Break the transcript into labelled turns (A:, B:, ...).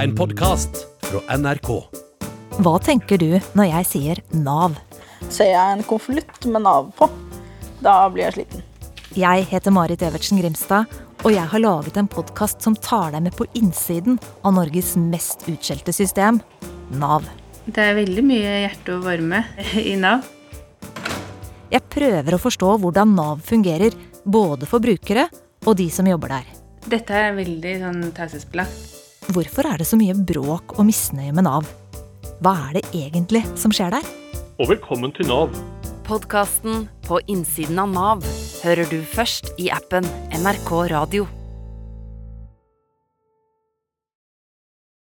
A: En podkast fra NRK.
B: Hva tenker du når jeg sier Nav?
C: Ser jeg en konvolutt med Nav på, da blir jeg sliten.
B: Jeg heter Marit Evertsen Grimstad, og jeg har laget en podkast som tar deg med på innsiden av Norges mest utskjelte system, Nav.
D: Det er veldig mye hjerte og varme i Nav.
B: Jeg prøver å forstå hvordan Nav fungerer, både for brukere og de som jobber der.
D: Dette er veldig sånn taushetsbelagt.
B: Hvorfor er det så mye bråk og misnøye med Nav? Hva er det egentlig som skjer der?
E: og velkommen til Nav.
F: Podkasten På innsiden av Nav hører du først i appen NRK Radio.